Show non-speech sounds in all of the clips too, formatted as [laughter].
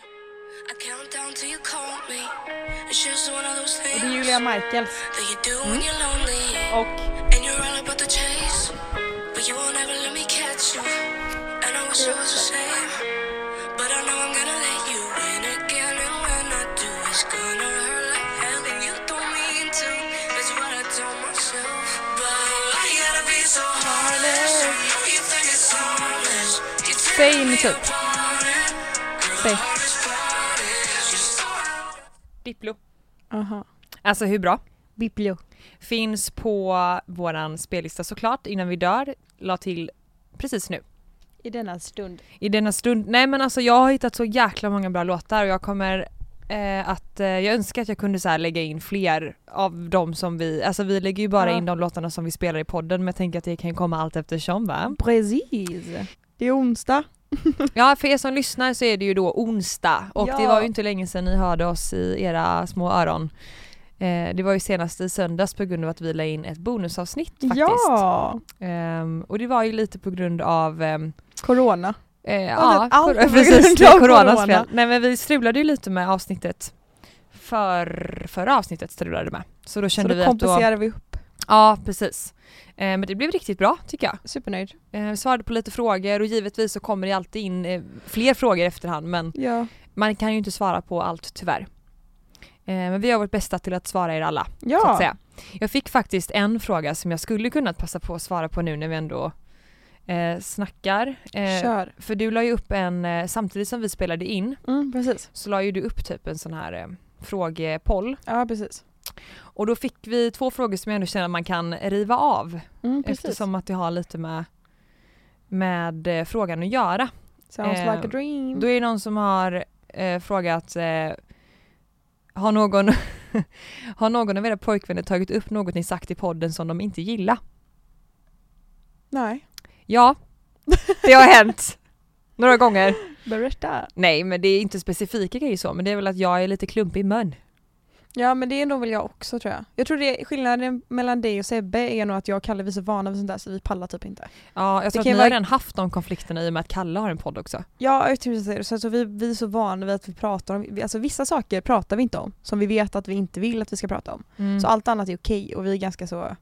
I count down till you call me. It's just one of those Och things det är Julia Michaels. that you do when you're lonely. Och And you're all about the chase. But you won't ever let me catch you. And I wish it was the same. But I know I'm gonna let you in again. And when I do, it's gonna hurt like hell. And you don't mean to. That's what I told myself. But why you gotta be so heartless? I know you think it's harmless. You Säg tear me mitt upp. apart. Girl, Säg. the hardest part is you start Diplo. Aha. Alltså hur bra? Biblio. Finns på våran spellista såklart innan vi dör. La till precis nu. I denna stund. I denna stund. Nej men alltså jag har hittat så jäkla många bra låtar och jag kommer eh, att, eh, jag önskar att jag kunde så här lägga in fler av de som vi, alltså vi lägger ju bara Ja. in de låtarna som vi spelar i podden men jag tänker att det kan ju komma allt eftersom va? Precis. Det är onsdag. Ja för er som lyssnar så är det ju då onsdag och det Ja. var ju inte länge sedan ni hörde oss i era små öron. Eh, det var ju senast i söndags på grund av att vi la in ett bonusavsnitt faktiskt. Ja! Ehm, och det var ju lite på grund av ehm, Corona. Eh, ja, Ja, allt cor- [laughs] på precis. grund Det är av coronas corona. fel. Nej men vi strulade ju lite med avsnittet. För, förra avsnittet strulade det med. Så då kände så vi då att då... kompenserar vi upp. Ja precis. Eh, men det blev riktigt bra tycker jag. Supernöjd. Eh, vi svarade på lite frågor och givetvis så kommer det alltid in eh, fler frågor i efterhand men Ja. man kan ju inte svara på allt tyvärr. Eh, men vi gör vårt bästa till att svara er alla Ja. så att säga. Jag fick faktiskt en fråga som jag skulle kunna passa på att svara på nu när vi ändå eh, snackar. Eh, Kör. för du la ju upp en, eh, samtidigt som vi spelade in Mm, precis. så la ju du upp typ en sån här eh, frågepoll. Ja, precis. Och då fick vi två frågor som jag ändå känner att man kan riva av Mm, precis. eftersom att det har lite med, med eh, frågan att göra. Sounds eh, like a dream. Då är det någon som har eh, frågat eh, har någon, [laughs] har någon av era pojkvänner tagit upp något ni sagt i podden som de inte gillar? Nej. Ja, [laughs] det har hänt. Några gånger. Berätta. Nej men det är inte specifika grejer så men det är väl att jag är lite klumpig i mun. Ja men det är nog väl jag också tror jag. Jag tror det skillnaden mellan dig och Sebbe är nog att jag och Kalle vi är så vana vid sånt där så vi pallar typ inte. Ja, jag tror att kan ni ju har vara- redan haft de konflikterna i och med att Kalle har en podd också. Ja jag tror det är det. så alltså, vi, vi är så vana vid att vi pratar om, vi- alltså vissa saker pratar vi inte om som vi vet att vi inte vill att vi ska prata om. Så Så, allt annat är okej och vi är ganska så,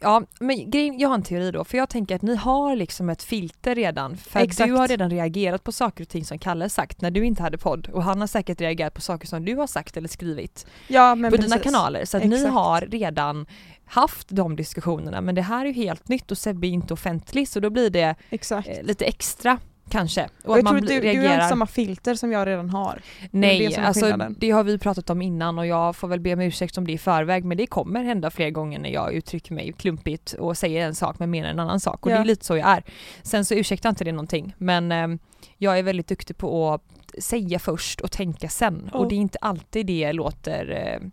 ja, men grejen, jag har en teori då, för jag tänker att ni har liksom ett filter redan. För att Exakt. du har redan reagerat på saker och ting som Kalle har sagt när du inte hade podd och han har säkert reagerat på saker som du har sagt eller skrivit ja men på precis. dina kanaler. Så att ni Exakt. har redan haft de diskussionerna men det här är ju helt nytt och Sebbe är inte offentlig så då blir det Exakt. eh, lite extra kanske. Och, att Och jag tror man att du, bli- du har inte samma filter som jag redan har. Nej, det som är alltså skillnaden. det har vi pratat om innan och jag får väl be om ursäkt om det i förväg men det kommer hända fler gånger när jag uttrycker mig klumpigt och säger en sak men menar en annan sak och det Ja. är lite så jag är. Sen så ursäktar inte det någonting men ehm, jag är väldigt duktig på att säga först och tänka sen och Ja. det är inte alltid det låter eh,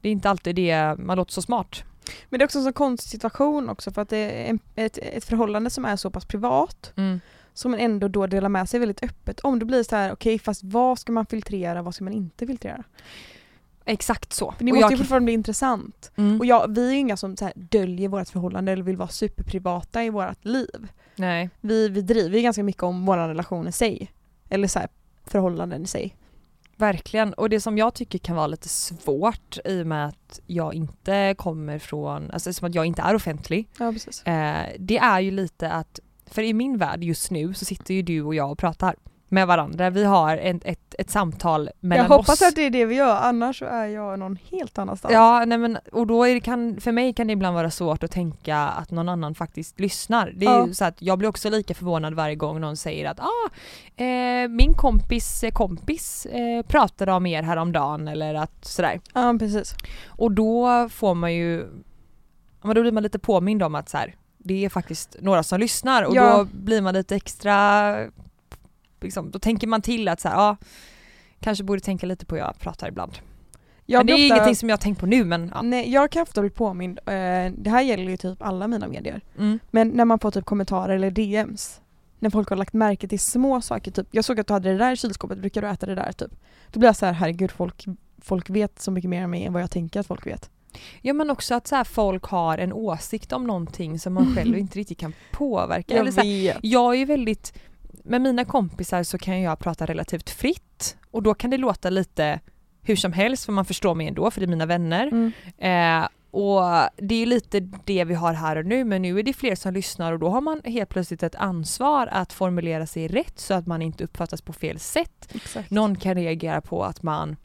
det är inte alltid det man låter så smart. Men det är också en sån konstig situation också för att det är en, ett, ett förhållande som är så pass privat som man ändå då delar med sig väldigt öppet om. Det blir så här, okej fast vad ska man filtrera, vad ska man inte filtrera? Exakt så. För det Och måste jag ju kan- fortfarande bli intressant. Mm. Och jag, vi är ju inga som så här döljer vårt förhållande eller vill vara superprivata i vårt liv. Nej. Vi, vi driver ju ganska mycket om vår relation i sig. Eller så här, förhållanden i sig. Verkligen, och det som jag tycker kan vara lite svårt i och med att jag inte kommer från, alltså som att jag inte är offentlig, Ja precis. eh, det är ju lite att, för i min värld just nu så sitter ju du och jag och pratar med varandra, vi har ett, ett, ett samtal mellan jag hoppas oss. att det är det vi gör annars så är jag någon helt annanstans. Ja, nej men, och då är det kan, för mig kan det ibland vara svårt att tänka att någon annan faktiskt lyssnar. Det är Ja. ju så att jag blir också lika förvånad varje gång någon säger att ah, eh, min kompis eh, kompis eh, pratade om er häromdagen eller att sådär. ja precis. Och då får man ju, ja, men då blir man lite påmind om att så här, det är faktiskt några som lyssnar och Ja. då blir man lite extra, liksom, då tänker man till att så här, ja, kanske borde tänka lite på hur jag pratar ibland. Jag men det är blir ofta- Mm. ingenting som jag har tänkt på nu men ja. Nej, jag kan ofta bli påmind, eh, det här gäller ju typ alla mina medier, Mm. men när man får typ kommentarer eller DMs när folk har lagt märke till små saker, typ jag såg att du hade det där i kylskåpet, brukar du äta det där? Typ. Då blir jag så här, herregud folk, folk vet så mycket mer om mig än vad jag tänker att folk vet. ja men också att så här, folk har en åsikt om någonting som man själv inte riktigt kan påverka. Eller så här, vet. jag är ju väldigt med mina kompisar så kan jag prata relativt fritt och då kan det låta lite hur som helst för man förstår mig ändå för det är mina vänner. Mm. Eh, och det är lite det vi har här och nu men nu är det fler som lyssnar och då har man helt plötsligt ett ansvar att formulera sig rätt så att man inte uppfattas på fel sätt Exakt. någon kan reagera på att man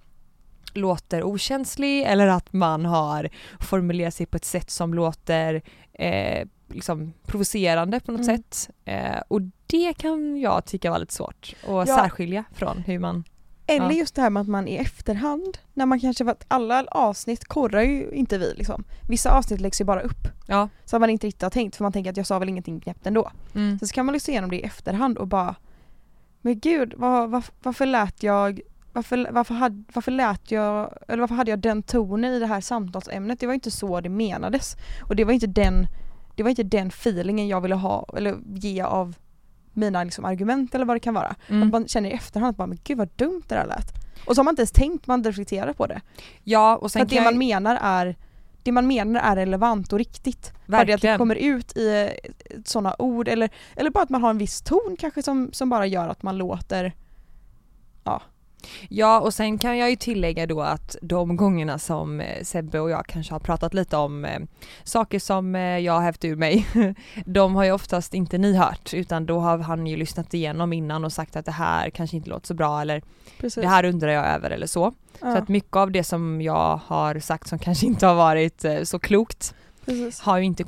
låter okänslig eller att man har formulerat sig på ett sätt som låter eh, liksom provocerande på något Mm. sätt. Eh, och det kan jag tycka var lite svårt att Ja. särskilja från hur man... Eller Ja. just det här med att man i efterhand, när man kanske, för att alla avsnitt korrar ju inte vi liksom. Vissa avsnitt läggs ju bara upp. Ja. Så att man inte riktigt har tänkt för man tänker att jag sa väl ingenting knäppt ändå. Mm. Sen så kan man lyssna igenom det i efterhand och bara Men gud, vad, vad, varför lät jag varför, varför, hade, varför lät jag, eller varför hade jag den tonen i det här samtalsämnet? Det var inte så det menades. Och det var inte den, det var inte den feelingen jag ville ha eller ge av mina liksom, argument eller vad det kan vara. Mm. Att man känner i efterhand att bara, men gud vad dumt det där lät. Och så har man inte ens tänkt, man reflekterar på det. Ja, och Så sen att det kan man jag, menar är det man menar är relevant och riktigt. Bara det att det verkligen. kommer ut i eh, sådana ord eller, eller bara att man har en viss ton kanske som, som bara gör att man låter Ja, och sen kan jag ju tillägga då att de gångerna som eh, Sebbe och jag kanske har pratat lite om eh, saker som eh, jag har hävt ur mig, [laughs] de har ju oftast inte ni hört utan då har han ju lyssnat igenom innan och sagt att det här kanske inte låter så bra eller Precis. det här undrar jag över eller så. Så att mycket av det som jag har sagt som [laughs] kanske inte har varit eh, så klokt precis. har ju inte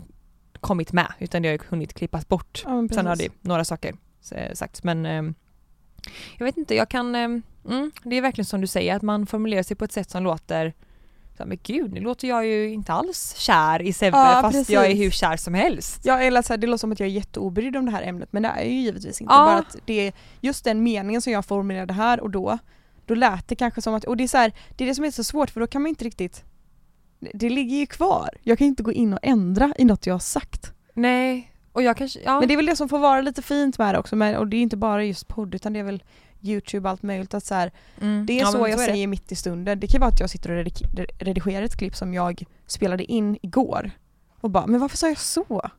kommit med utan det har ju hunnit klippas bort. Ja, men Sen har det precis. några saker eh, sagts men ehm, jag vet inte, jag kan, ehm, mm, det är verkligen som du säger att man formulerar sig på ett sätt som låter så här, men gud nu låter jag ju inte alls kär i Sebbe Ja, fast jag är precis. hur kär som helst. Ja eller så här, det låter som att jag är jätteobrydd om det här ämnet men det är jag ju givetvis inte. Ja. Bara att det är just den meningen som jag formulerade här och då, då lät det kanske som att, och det är så här, det är det som är så svårt för då kan man inte riktigt det ligger ju kvar. Jag kan inte gå in och ändra i något jag har sagt. Nej, och jag kanske, ja. Men det är väl det som får vara lite fint med det också, men, och det är inte bara just podd utan det är väl Youtube och allt möjligt att så här, mm, Det är ja, så men jag är det. säger mitt i stunden. Det kan vara att jag sitter och redik- redigerar ett klipp som jag spelade in igår och bara “men varför sa jag så?”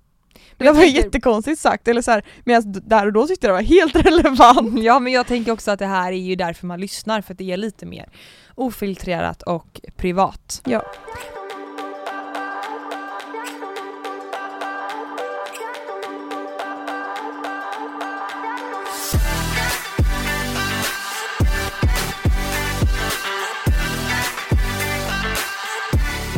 Det jag där var ju tänker- jättekonstigt sagt, eller så här, medan d- där och då tyckte jag det var helt [laughs] relevant. [laughs] Ja men jag tänker också att det här är ju därför man lyssnar för att det är lite mer ofiltrerat och privat. Ja.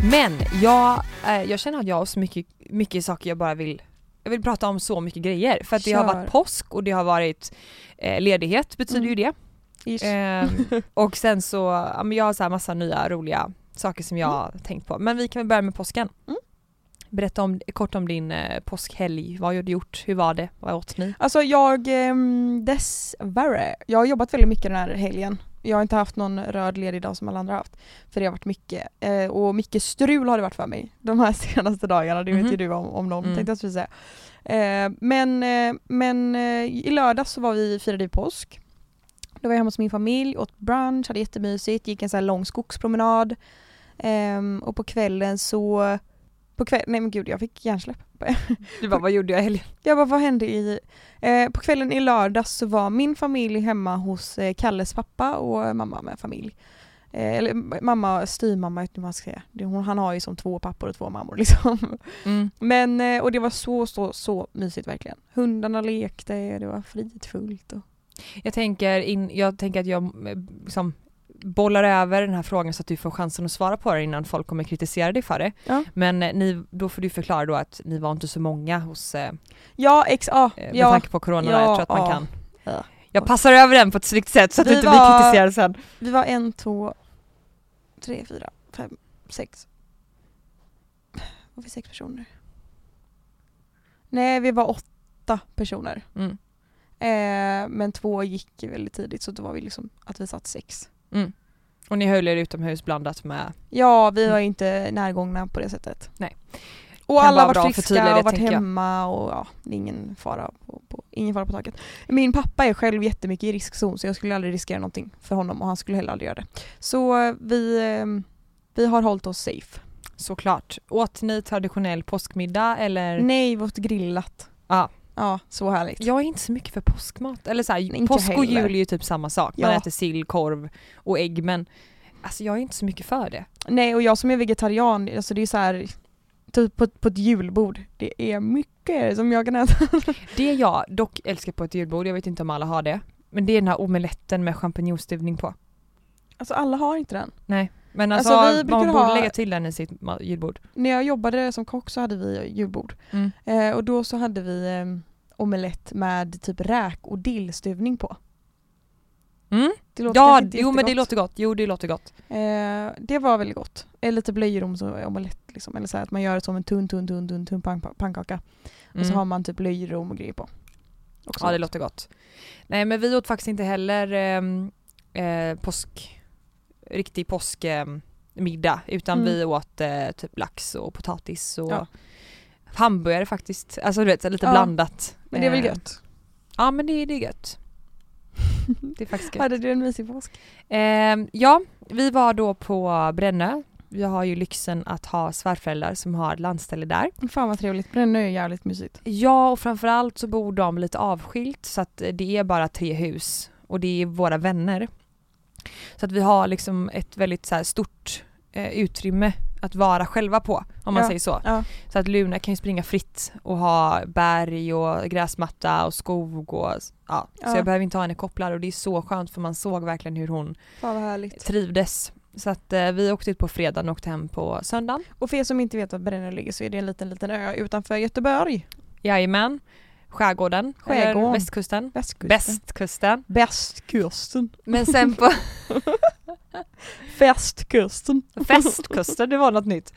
Men jag, eh, jag känner att jag har så mycket, mycket saker jag bara vill jag vill prata om så mycket grejer för att det har Kör. varit påsk och det har varit eh, ledighet betyder Mm. ju [laughs] det. Ish. Ehm, och sen så, ja, men jag har så här massa nya roliga saker som jag har tänkt på. Men vi kan väl börja med påsken. Mm. Berätta om, kort om din eh, påskhelg. Vad har du gjort? Hur var det? Vad åt ni? Alltså jag, ehm, dessvärre, jag har jobbat väldigt mycket den här helgen. Jag har inte haft någon röd ledig dag som alla andra har haft. För det har varit mycket, eh, och mycket strul har det varit för mig de här [laughs] senaste dagarna, det vet ju Mhm. du om, om någon Mm. tänkte jag skulle säga. Eh, men eh, men eh, i lördags så var vi, firade vi påsk. Då var jag hemma hos min familj, åt brunch, hade jättemysigt, gick en så här lång skogspromenad. Ehm, och på kvällen så, på kväll, nej men gud jag fick hjärnsläpp. Du bara, vad gjorde jag i helgen? Jag bara, vad hände i... Eh, på kvällen i lördags så var min familj hemma hos eh, Kalles pappa och mamma med familj. Eh, eller m- mamma, styvmamma vet inte vad man ska säga. Det, hon, han har ju som två pappor och två mammor [laughs] liksom. Mm. Men, eh, och det var så, så, så mysigt verkligen. Hundarna lekte, det var fridfullt och... Jag, tänker in, jag tänker att jag eh, liksom, bollar över den här frågan så att du får chansen att svara på det innan folk kommer kritisera dig för det. Ja. Men eh, ni, då får du förklara då att ni var inte så många hos, eh, Ja, ex, ah, med ja. tanke på corona, ja, jag tror att man ja. kan. Ja. Jag passar över den på ett snyggt sätt så att Vi du inte var- blir kritiserad sen. Vi var en, två, tre, fyra, fem, sex. Var vi sex personer? Nej, vi var åtta personer. Mm. Eh, men två gick väldigt tidigt så då var vi liksom att vi satt sex. Och ni höll er utomhus blandat med Ja, vi Mm. var ju inte närgångna på det sättet. Nej. Och Kan alla vara har bra varit att förtydliga friska det, och varit tänker jag. hemma och ja, det är ingen fara på, på, ingen fara på taket. Min pappa är själv jättemycket i riskzon så jag skulle aldrig riskera någonting för honom och han skulle heller aldrig göra det. Så eh, vi, eh, vi har hållit oss safe. såklart. Åt ni traditionell påskmiddag eller? Nej, vi åt grillat. Ja. Ja, så härligt. Jag är inte så mycket för påskmat. Eller så inte här, jag påsk och heller. jul är ju typ samma sak. Man Ja. äter sill, korv och ägg men alltså jag är inte så mycket för det. Nej och jag som är vegetarian, alltså det är så här typ på, på ett julbord, det är mycket som jag kan äta. Det jag dock älskar på ett julbord, jag vet inte om alla har det, men det är den här omeletten med champinjonstuvning på. Alltså alla har inte den. Men alltså, Alltså, vi man brukar borde ha- lägga till den i sitt ma- julbord. När jag jobbade som kock så hade vi julbord Mm. eh, och då så hade vi eh, omelett med typ räk och dillstuvning på. Mm. Det låter Ja, kanske inte jo men det jättegott. låter gott. Jo det låter gott. Eh, det var väldigt gott. Eller lite löjromsomelett liksom. Eller så här att man gör det som en tunn, tunn, tunn, tunn, tunn pann- pannkaka. Och så Mm. har man typ löjrom och grejer på. Också Ja det gott. låter gott. Nej men vi åt faktiskt inte heller ehm, eh, påsk, riktig påskmiddag utan Mm. vi åt eh, typ lax och potatis och Ja. hamburgare faktiskt. Alltså du vet så här lite Ja. blandat. Men det är väl Eh, gött? Ja men det, det är [laughs] gött. Det är faktiskt gött. Hade du en mysig påsk? Ehm, ja, vi var då på Brännö. Jag har ju lyxen att ha svärföräldrar som har ett landställe där. Fan vad trevligt. Brännö är jävligt mysigt. Ja, och framförallt så bor de lite avskilt så att eh, det är bara tre hus och det är våra vänner. Så att vi har liksom ett väldigt så här stort eh, utrymme att vara själva på om man Ja, säger så. ja. Så att Luna kan ju springa fritt och ha berg och gräsmatta och skog och ja. Ja. Så jag behöver inte ha henne kopplad och det är så skönt för man såg verkligen hur hon Fan vad härligt. trivdes. Så att eh, vi åkte ut på fredagen och åkte hem på söndagen. Och för er som inte vet var Brännö ligger så är det en liten, liten ö utanför Göteborg. Jajamän. Skärgården, Skärgården. Eller västkusten. Västkusten. Bästkusten. Bästkusten. Men sen [laughs] på Västkusten. festkusten, det var något nytt.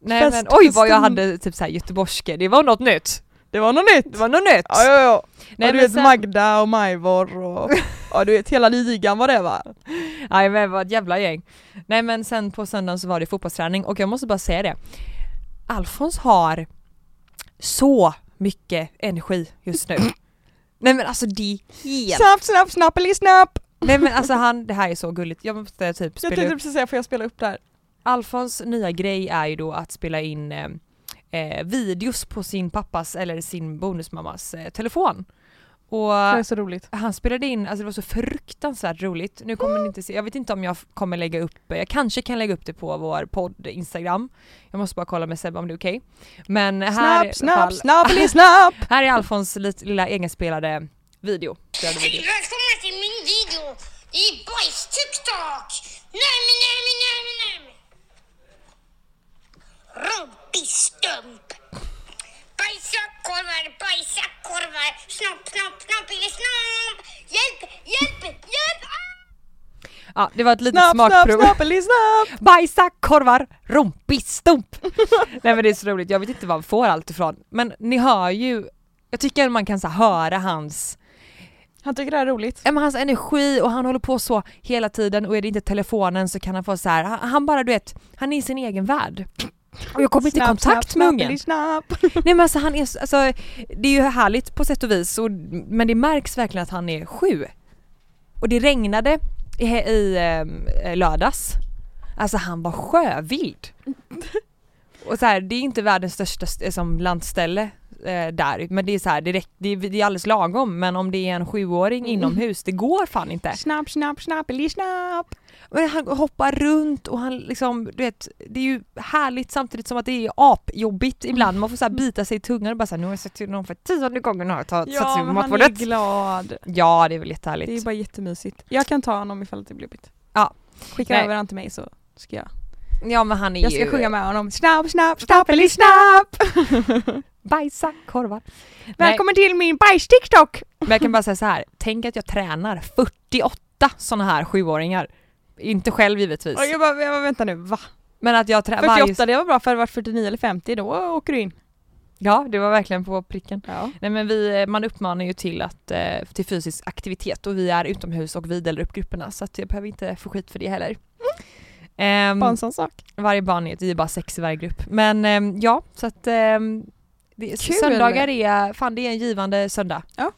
Nej men Festkusten. oj vad jag hade typ såhär göteborgska, det var något nytt. [laughs] Det var något nytt. Det var något nytt. Ja, ja, ja. Nej, ja, du men vet Magda och [laughs] Majvor och ja, du vet hela ligan var det va? Nej men vad ett jävla gäng. Nej men sen på söndagen så var det fotbollsträning och jag måste bara säga det. Alfons har så mycket energi just [clears throat] nu. Nej men alltså det är helt... Snapp, snapp, snappeli, snapp! Nej men alltså han, det här är så gulligt. Jag måste typ Jag spela tänkte upp. precis säga, får jag spela upp det här? Alfons nya grej är ju då att spela in eh, eh, videos på sin pappas eller sin bonusmammas eh, telefon. Och Det är så roligt. han spelade in, alltså det var så fruktansvärt roligt. Nu kommer ni inte se, jag vet inte om jag f- kommer lägga upp, eh, jag kanske kan lägga upp det på vår podd Instagram. Jag måste bara kolla med Sebbe om det är okej. Men här, Snapp, i alla snapp, fall, [laughs] snappeli, snapp! här är Alfons lit- lilla egenspelade video. Spelade video. Hej, välkomna till min video i Boys TikTok! Närmi, närmi, närmi, närmi! Rumpistump! Bajsa korvar, bajsa korvar! Snopp, snopp, snopp, snopp! Hjälp, hjälp, hjälp! Ah! Ja, det var ett litet Snapp, snapp, smakprov. snappeli, snapp! Bajsa, korvar, rumpistump! Nej men det är så roligt, jag vet inte var han får allt ifrån. Men ni hör ju, jag tycker man kan så här höra hans, Han tycker det här är roligt. ja, men hans energi och han håller på så hela tiden och är det inte telefonen så kan han få så här, han, han bara du vet, han är i sin egen värld. Och jag kommer inte i Snapp, kontakt snapp, med ungen. snappeli, snapp. Nej men alltså han är, så- alltså, det är ju härligt på sätt och vis och, men det märks verkligen att han är sju. Och det regnade i, i eh, lördags. Alltså han var sjövild. Och så här, det är inte världens största st- eh, som landställe eh, där men det är så här, det, räck, det, är, det är alldeles lagom men om det är en sjuåring inomhus det går fan inte. Snapp, snapp, snappeli, snapp! Men han hoppar runt och han liksom, du vet, det är ju härligt samtidigt som att det är apjobbigt ibland. Man får Mm. så här bita sig i tungan och bara så här, nu har jag sett till någon för tionde gången har jag tagit satt sig på Ja, men han är matbordet. glad. Ja, det är väl Det är jättehärligt. bara jättemysigt. Jag kan ta honom ifall det blir jobbigt. Ja. Skicka Nej. över han till mig så ska jag. Ja, men han är Jag ska ju sjunga med honom. Snapp, snapp, snappeli, snapp! bajsa korvar. Välkommen. Välkommen till min bajs-tiktok! Men jag kan bara säga så här, tänk att jag tränar 48 sådana här sjuåringar. Inte själv givetvis. Och jag bara, jag bara, vänta nu, va? Men att jag tränar 48 det var bra för det var 49 eller 50 då åker du in. Ja, det var verkligen på pricken. Ja. Nej men vi, eh, man uppmanar ju till, att, eh, till fysisk aktivitet och vi är utomhus och vi delar upp grupperna så att jag behöver inte få skit för det heller. Ehm, Bara en sån sak. varje barn är, det är bara sex i varje grupp. Men ehm, ja, så att ehm, det, Kul. söndagar är, fan det är en givande söndag. Ja.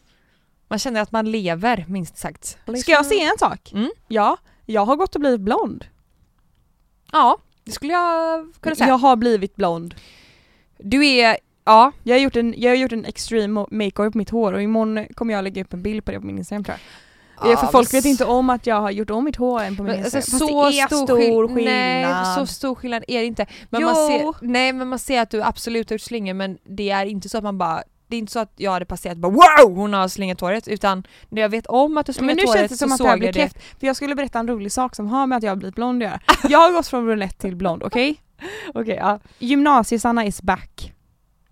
Man känner att man lever minst sagt. Ska jag säga en sak? Mm. Ja, jag har gått och blivit blond. Ja, det skulle jag kunna säga. Jag har blivit blond. Du är Ja, Jag har gjort en, jag har gjort en extreme mo- makeover på mitt hår och imorgon kommer jag lägga upp en bild på det på min Instagram tror jag. Eh, Ja, För folk men vet s- inte om att jag har gjort om mitt hår än på min Men, Instagram. alltså, Fast så det är stor, skill- Nej, så stor skillnad är det inte. Men man Jo. ser, nej men man ser att du absolut har gjort slingor men det är inte så att man bara det är inte så att jag hade passerat bara wow hon har slingat håret utan när jag vet om att du har Ja, slingat Men nu känns håret det så som att såg det här jag blir det. kräft. För jag skulle berätta en rolig sak som har med att jag har blivit blond att göra. [laughs] Jag har gått från brunett till blond, [laughs] okej? Okej, ja. Gymnasiesanna is back.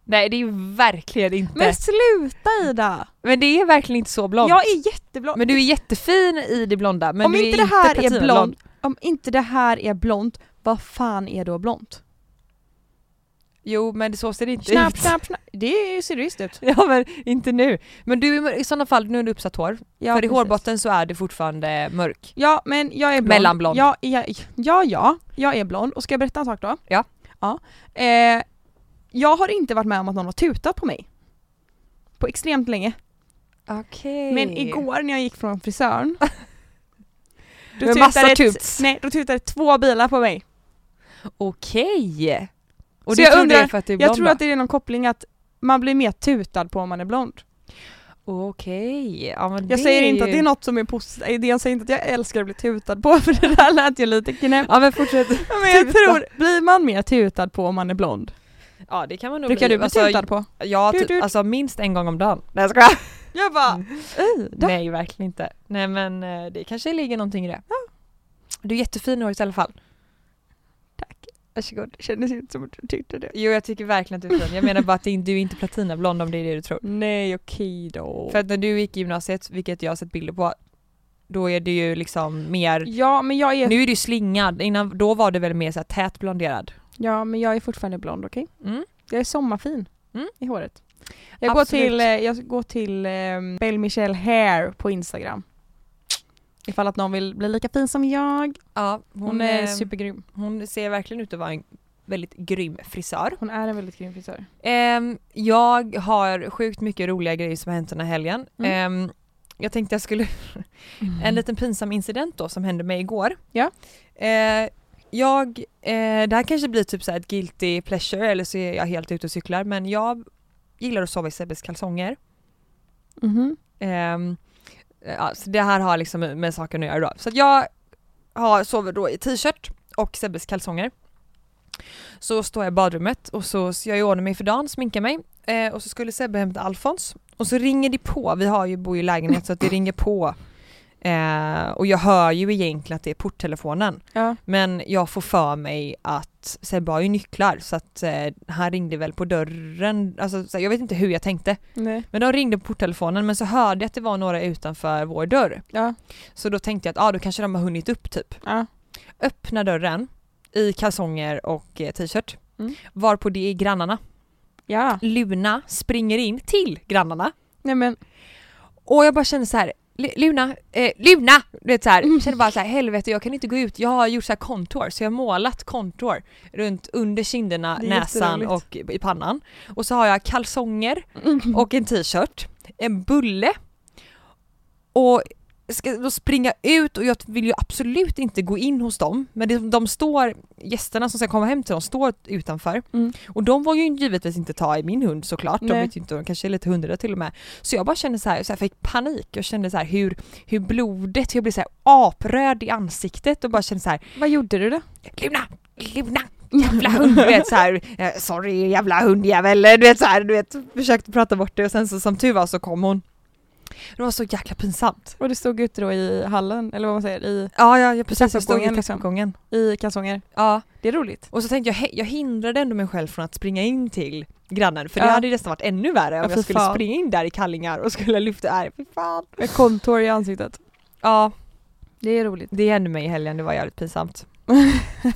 Nej det är verkligen inte. Men, Men sluta Ida! det är verkligen inte så blont. Jag är jätteblond. Men du är jättefin i det blonda men om du inte är det här inte är platinblond. blond, om inte det här är blont, vad fan är då blont? Jo men så ser det inte Snap, ut. snap, snap. Det ser visst ut. [laughs] Ja men inte nu. Men du är i sådana fall, nu är du uppsatt hår. Ja, För i precis. hårbotten så är du fortfarande mörk. Ja men jag är blond. Mellanblond. Ja, jag, ja, ja, jag är blond. Och ska jag berätta en sak då? Ja. ja. Eh, jag har inte varit med om att någon har tutat på mig. På extremt länge. Okej. Men igår när jag gick [laughs] från frisören då Med massa tutade ett- tuts. Nej, då tutade två bilar på mig. Okej. Och Så du jag tror undrar- det är för att du är blond jag tror då? att det är någon koppling att man blir mer tutad på om man är blond. Okej. Ja, men det Jag säger är inte att ju- det är något som är positivt, jag säger inte att jag älskar att bli tutad på [laughs] för det där lät ju lite knäppt. Ja men fortsätt. Men jag tuta. tror, blir man mer tutad på om man är blond? [laughs] Ja det kan man nog Brukar bli. du bli Alltså, tutad på? Ja, Tut, typ, tut. alltså minst en gång om dagen. Nej jag skojar. Jag bara, "Ej, då." Mm. Nej verkligen inte. Nej men eh, det kanske ligger någonting i det. Du är jättefin i året i alla fall. Tack. Varsågod, det kändes inte som att du tyckte det. Jo jag tycker verkligen att du är fin. Jag menar bara att det- du är inte platinablond om det är det du tror. Nej okej då. För att när du gick i gymnasiet, vilket jag har sett bilder på, då är du ju liksom mer, ja men jag är, nu är du slingad, innan, då var du väl mer såhär tät blonderad? ja, men jag är fortfarande blond okej? Mm. Jag är sommarfin Mm. i håret. Jag går, Absolut. till, eh, jag går till eh, Belle Michelle Hair på Instagram. Ifall att någon vill bli lika fin som jag. Ja, hon, Hon, är eh, supergrym. hon ser verkligen ut att vara en väldigt grym frisör. Hon är en väldigt grym frisör. Ehm, jag har sjukt mycket roliga grejer som har hänt den här helgen. Mm. Ehm, jag tänkte jag skulle, en liten pinsam incident då som hände mig igår. Ja. Ehm, jag, eh, det här kanske blir typ så här ett guilty pleasure eller så är jag helt ute och cyklar men jag gillar att sova i Sebbes kalsonger. Mhm. Ehm, ja, så det här har liksom med saken att göra då. Så att jag har, sover då i t-shirt och Sebbes kalsonger. Så står jag i badrummet och så så jag i ordning mig för dagen, sminkar mig eh, och så skulle Sebbe hämta Alfons och så ringer det på, vi har ju, bor ju i lägenhet så att det ringer på eh, och jag hör ju egentligen att det är porttelefonen Ja. men jag får för mig att Sebbe har ju nycklar så att eh, han ringde väl på dörren, alltså, så här, jag vet inte hur jag tänkte Nej. men de ringde på porttelefonen men så hörde jag att det var några utanför vår dörr. Ja. Så då tänkte jag att ah, då kanske de har hunnit upp typ. Ja. Öppna dörren i kalsonger och eh, t-shirt. Mm. Varpå det är grannarna. Ja. Luna springer in till grannarna. Nej men. Och jag bara kände så här. "Lu- Luna, eh, Luna! Du vet så här, jag kände bara så här, helvete jag kan inte gå ut, jag har gjort så här kontor, så jag har målat kontor runt under kinderna, Det är näsan och i pannan. Och så har jag kalsonger Mm. och en t-shirt, en bulle och ska då springa ut och jag vill ju absolut inte gå in hos dem men det, de står, gästerna som ska komma hem till dem står utanför Mm. och de var ju givetvis inte ta i min hund såklart, de Nej. vet ju inte, de kanske är lite hundra till och med. Så jag bara kände så här, så här fick panik, jag kände så här hur, hur blodet, jag blev så här apröd i ansiktet och bara kände så här Vad gjorde du då? Luna, Luna, jävla hund, du vet såhär, sorry jävla hundjävel, du vet såhär, du vet, försökte prata bort det och sen så som tur var så kom hon. Det var så jäkla pinsamt. Och du stod ute då i hallen, eller vad man säger, i, Ja, ja, ja precis, jag Trappuppgången, stod i liksom. trappuppgången. i kalsonger. Ja, Det är roligt. och så tänkte jag, he- jag hindrade ändå mig själv från att springa in till grannen för det Ja. hade ju nästan varit ännu värre om Ja, jag fy skulle fan. springa in där i kallingar och skulle lyfta, nej fy fan. Med kontor i ansiktet. Ja, Det är roligt. det hände mig i helgen, det var jävligt [laughs] pinsamt.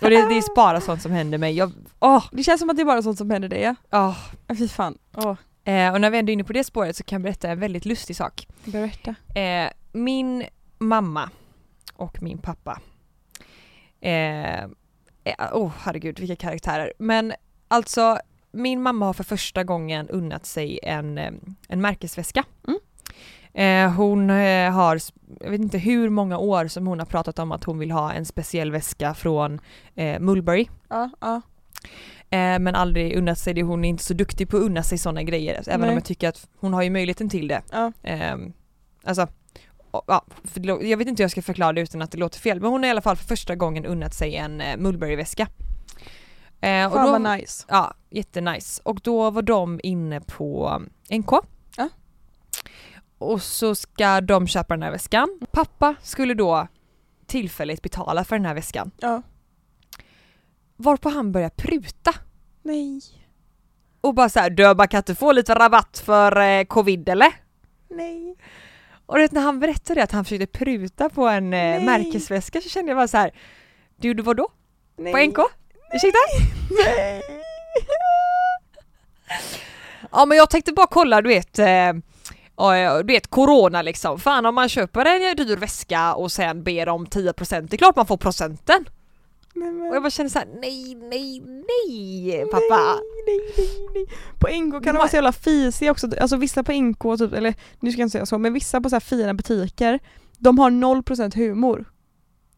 och det, det är bara sånt som händer mig, jag, åh, Det känns som att det är bara sånt som händer dig ja. åh. Ja, Fy fan. Åh, Eh, och när vi ändå är inne på det spåret så kan jag berätta en väldigt lustig sak. berätta. Eh, min mamma och min pappa. Eh, eh, oh herregud vilka karaktärer. Men alltså min mamma har för första gången unnat sig en, eh, en märkesväska. Mm. Eh, hon eh, har, s- jag vet inte hur många år som hon har pratat om att hon vill ha en speciell väska från eh, Mulberry. Ja, ja. Eh, men aldrig unnat sig det, hon är inte så duktig på att unna sig sådana grejer. alltså, Även Nej. om jag tycker att hon har ju möjligheten till det. Ja. Ehm, alltså, och- ja, för det lå- jag vet inte hur jag ska förklara det utan att det låter fel men hon har i alla fall för första gången unnat sig en eh, Mulberry-väska. Eh, och Fan då- vad nice. Ja, jättenice. Och då var de inne på NK. Ja. Och så ska de köpa den här väskan. Pappa skulle då tillfälligt betala för den här väskan. Ja. Varpå han börjar pruta Nej. och bara såhär du bara kan inte få lite rabatt för eh, covid eller? Nej. Och du vet när han berättade att han försökte pruta på en eh, Nej. märkesväska så kände jag bara så här. Du gjorde vad då? Nej. På NK? Ursäkta? Ja men jag tänkte bara kolla du vet, eh, ja, du vet corona liksom. Fan om man köper en eh, dyr väska och sen ber om 10% det är klart man får procenten. Men, men. Och jag bara kände så här: nej, nej, nej pappa. Nej, nej, nej, nej. På Det NK kan de var- vara så jävla fisiga också, alltså vissa på NK, typ, eller nu ska jag inte säga så, men vissa på så här fina butiker, de har 0% humor. [laughs]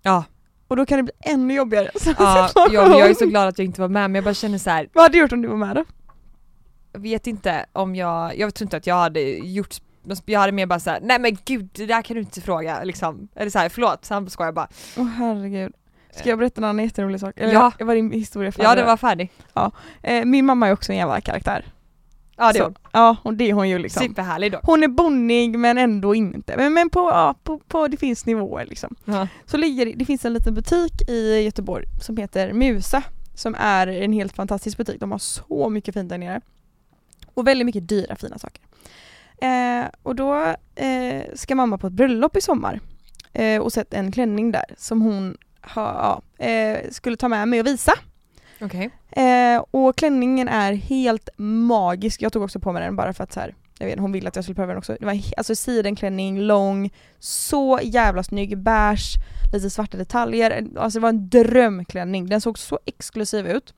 Ja. Och då kan det bli ännu jobbigare. [laughs] Ja, jag, jag är så glad att jag inte var med men jag bara känner så här. Vad hade du gjort om du var med då? Jag vet inte om jag, jag tror inte att jag hade gjort jag hade mer bara såhär, nej men gud det där kan du inte fråga liksom. Eller såhär, förlåt, så han skojar bara. Åh herregud. Ska jag berätta en annan jätterolig sak? Eller Ja. jag var din historia för Ja andra. det var färdig. eh, Min mamma är också en jävla karaktär. Ja det Så- var Ja, och det är hon ju liksom. superhärlig då. Hon är bonnig men ändå inte. Men, men på, ja, på, på, det finns nivåer liksom. Ja. så ligger det- det finns en liten butik i Göteborg som heter Musa som är en helt fantastisk butik. De har så mycket fint där nere. Och väldigt mycket dyra fina saker. Eh, och då eh, ska mamma på ett bröllop i sommar eh, och sett en klänning där som hon ha, ja, eh, skulle ta med mig och visa. Okej. Eh, och klänningen är helt magisk. Jag tog också på mig den bara för att så här, jag vet, hon ville att jag skulle pröva den också. Det var he- alltså sidenklänning, lång, så jävla snygg, beige, lite svarta detaljer. Alltså det var en drömklänning. Den såg så exklusiv ut.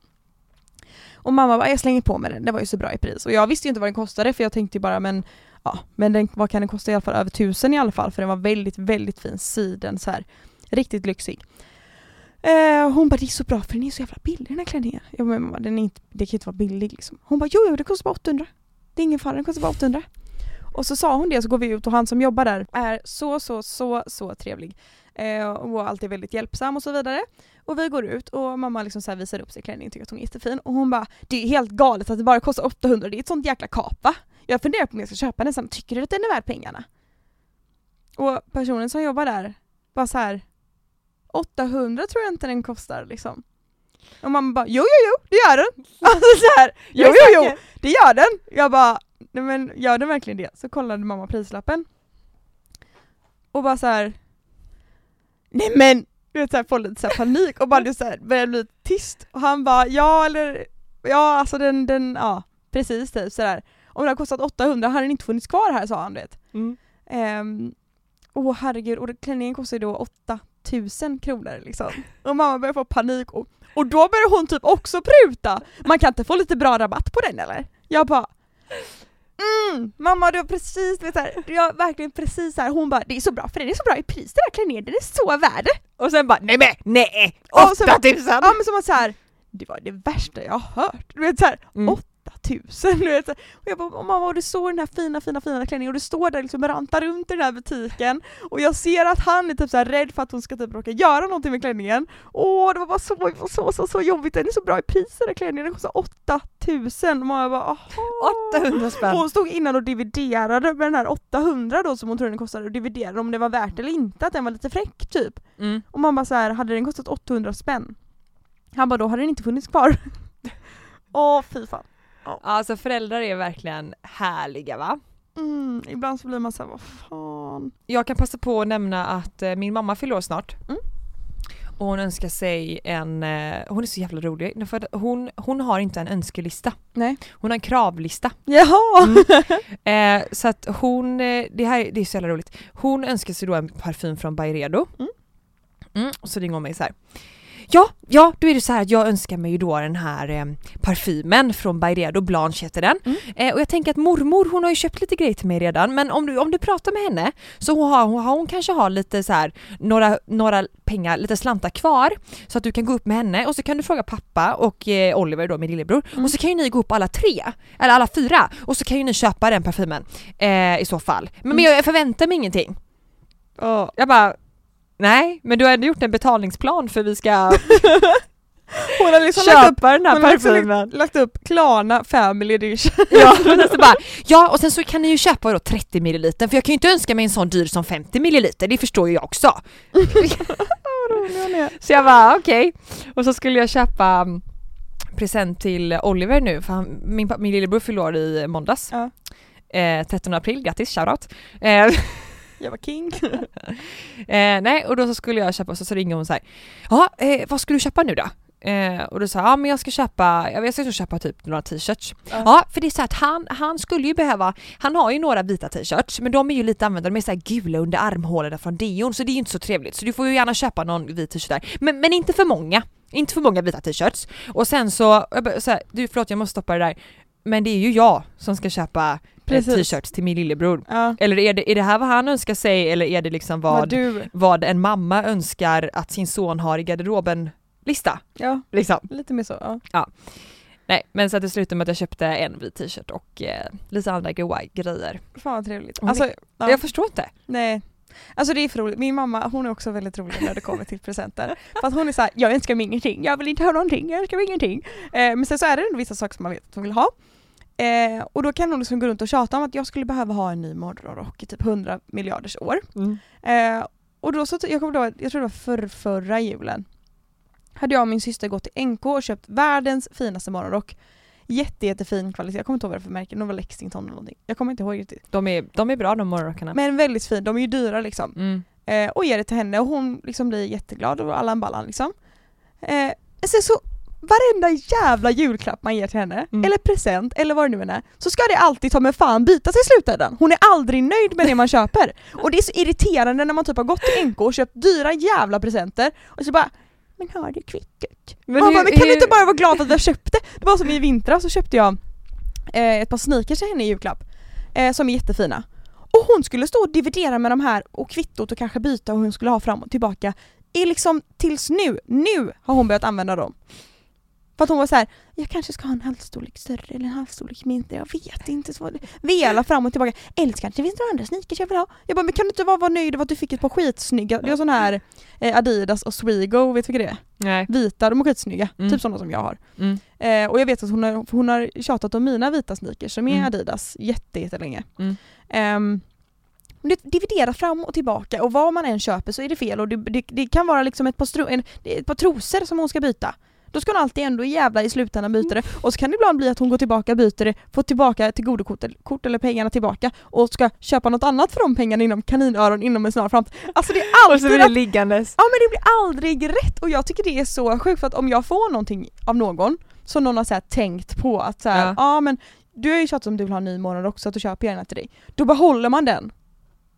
Och mamma bara, jag slänger på mig den, den var ju så bra i pris. Och jag visste ju inte vad den kostade för jag tänkte ju bara men ja, men den, vad kan den kosta i alla fall? Över tusen i alla fall för den var väldigt, väldigt fin siden så här. Riktigt lyxig. Eh, hon bara det är så bra för den är så jävla billig den här klänningen. Jag bara, men mamma, den är inte, det kan ju inte vara billig liksom. Hon bara jo, jo det kostar bara 800. Det är ingen fara, den kostar bara 800. Och så sa hon det så går vi ut och han som jobbar där är så, så, så, så trevlig. Eh, och alltid väldigt hjälpsam och så vidare. Och vi går ut och mamma liksom så här visar upp sin klänning tycker att hon är jättefin och hon bara det är helt galet att det bara kostar 800, det är ett sånt jäkla kap va? Jag funderar på om jag ska köpa den sen, tycker du att den är värd pengarna? Och personen som jobbar där bara så här 800 tror jag inte den kostar liksom. Och mamma bara jo jo jo det gör den! [laughs] Alltså så här, jo Jag är jo jo säker. det gör den! Jag bara nej men gör den verkligen det? Så kollade mamma prislappen och bara så här nej men! Du vet såhär, får lite såhär panik och bara det såhär, börjar bli tyst och han bara ja eller ja alltså den, den ja precis typ sådär. Om den har kostat 800 hade den inte funnits kvar här sa han du vet. Mm. Ehm, Åh herregud, och det- klänningen kostar ju då 8000 kronor liksom. Och mamma börjar få panik och, och då börjar hon typ också pruta. Man kan inte få lite bra rabatt på den eller? Jag bara Mm, mamma du har precis, du vet så här, du har verkligen precis så här. hon bara det är så bra för den är så bra i pris den här klänningen, den är så värd det." Och sen bara, nej men nej! Ja, och sen 8000! Ja men som att så här, det var det värsta jag har hört. Du vet så här, Mm. 8000. Du vet, så här. och jag bara, "Åh, mamma och du såg den här fina fina fina klänningen och du står där liksom och rantar runt i den här butiken och jag ser att han är typ så här rädd för att hon ska typ råka göra någonting med klänningen. Åh det var bara så, så, så, så jobbigt, den är så bra i pris den här klänningen, den kostar 8000. Och mamma bara aha. 800 Och spänn! hon stod innan och dividerade med den här 800 då som hon trodde den kostade och dividerade om det var värt eller inte, att den var lite fräck typ. Mm. Och man bara så här, hade den kostat 800 spänn? Han bara, då hade den inte funnits kvar. [laughs] Åh fy fan. Alltså föräldrar är verkligen härliga va? Mm, ibland så blir man så här, vad fan. Jag kan passa på att nämna att eh, min mamma fyller år snart. Mm. Och hon önskar sig en, eh, hon är så jävla rolig, för att hon, hon har inte en önskelista. Nej. Hon har en kravlista. Jaha! Eh, så att hon, eh, det här det är så jävla roligt. Hon önskar sig då en parfym från Byredo. Mm. Mm, och så ringer hon mig så här. Ja, ja, då är det så här att jag önskar mig ju då den här eh, parfymen från Byredo, Blanche heter den. Mm. Eh, och jag tänker att mormor hon har ju köpt lite grejer till mig redan men om du, om du pratar med henne så hon har hon, har, hon kanske har lite så här några, några pengar, lite slantar kvar så att du kan gå upp med henne och så kan du fråga pappa och eh, Oliver då min lillebror Mm. och så kan ju ni gå upp alla tre, eller alla fyra och så kan ju ni köpa den parfymen eh, i så fall. Men, men jag förväntar mig ingenting. Ja. Jag bara Nej, men du har ändå gjort en betalningsplan för vi ska [laughs] Hon har liksom lagt upp, köpa den här hon har liksom parfymen. lagt, [laughs] lagt upp Klarna Family Edition. [laughs] Ja, och så bara, ja och sen så kan ni ju köpa då 30 milliliter för jag kan ju inte önska mig en sån dyr som 50 milliliter, det förstår ju jag också. Så jag bara okej. Och så skulle jag köpa mm, present till Oliver nu för han, min, pa- min lillebror fyllde år i måndags. Ja. Eh, 13 april, grattis, shoutout. Eh, Jag var king. Eh, nej, och då så skulle jag köpa, så, så ringer hon så här. Ja, eh, vad ska du köpa nu då? Eh, och då sa jag, ja men jag ska köpa, jag vet, jag ska nog köpa typ några t-shirts. Ja. Ja, för det är så här att han, han skulle ju behöva, han har ju några vita t-shirts men de är ju lite använda, de är så här gula under armhålorna från deon så det är ju inte så trevligt. Så du får ju gärna köpa någon vit t-shirt där. Men, men inte för många. Inte för många vita t-shirts. Och sen så, jag bara, så här, du förlåt jag måste stoppa det där. Men det är ju jag som ska köpa eh, Precis. t-shirts till min lillebror. [laughs] Ja. Eller är det, är det här vad han önskar sig eller är det liksom vad, Vad du, vad en mamma önskar att sin son har i garderoben-lista. ja Liksom. lite mer så. Ja. Nej, men så att det slutade med att jag köpte en vit t-shirt och eh, lite andra goa grejer. Fan vad trevligt. Hon är- Alltså, ja. Jag förstår inte. nej. Alltså det är för roligt. Min mamma hon är också väldigt rolig när det kommer till presenter. För att hon är såhär, jag önskar mig ingenting, jag vill inte ha någonting, jag önskar mig ingenting. Eh, men sen så är det ändå vissa saker som man vet att hon vill ha. Eh, och då kan hon liksom gå runt och tjata om att jag skulle behöva ha en ny morgonrock i typ 100 miljarders år. Mm. Eh, och då så, jag kommer ihåg, jag tror det var för, förra julen. Hade jag och min syster gått till NK och köpt världens finaste morgonrock. Jätte, jättefin kvalitet, jag kommer inte ihåg vad det var för märke, de var Lexington eller någonting. Jag kommer inte ihåg riktigt. De, är, de är bra de morgonrockarna. Men väldigt fin, de är ju dyra liksom. Mm. Eh, och ger det till henne och hon liksom blir jätteglad och allan ballan liksom. Eh, sen så varenda jävla julklapp man ger till henne, Mm. eller present eller vad det nu än är, så ska det alltid ta med fan bita sig i slutändan. Hon är aldrig nöjd med det man köper. Och det är så irriterande när man typ har gått till NK och köpt dyra jävla presenter och så bara men har du kvittot? Men Men, man hur- bara, men kan hur- du inte bara vara glad att jag köpte? Det var som i vintras så köpte jag eh, ett par sneakers till henne i julklapp eh, som är jättefina. Och hon skulle stå och dividera med de här och kvittot och kanske byta och hon skulle ha fram och tillbaka i liksom tills nu, nu har hon börjat använda dem. För att hon var så här, jag kanske ska ha en halvstorlek större eller en halvstorlek mindre, jag vet inte. Så var det. Vela fram och tillbaka. Eller så kanske det finns några andra sneakers jag vill ha. Jag bara, men kan du inte bara vara nöjd över att du fick ett par skitsnygga, det är sån här eh, Adidas och Swego, vet du vilka det är? Nej. Vita, de är skitsnygga. Mm. Typ sådana som jag har. Mm. Eh, och jag vet att hon har, hon har tjatat om mina vita sneakers som är Mm. Adidas jätte, jättelänge. Mm. Ehm, men det- dividera fram och tillbaka och vad man än köper så är det fel och det, det, det kan vara liksom ett par, stro, en, det är ett par trosor som hon ska byta. Då ska hon alltid ändå jävla i slutändan byta det Mm. och så kan det ibland bli att hon går tillbaka och byter det, får tillbaka till godokort eller- kort eller pengarna tillbaka och ska köpa något annat för de pengarna inom kaninöron inom en snar framtid. Alltså det är alltid att liggandes. Ja men det blir aldrig rätt och jag tycker det är så sjukt för att om jag får någonting av någon som någon har så här tänkt på att så här, Ja. ja. men du har ju tjatat om du vill ha en ny månad också, att du köper jag den här till dig. Då behåller man den.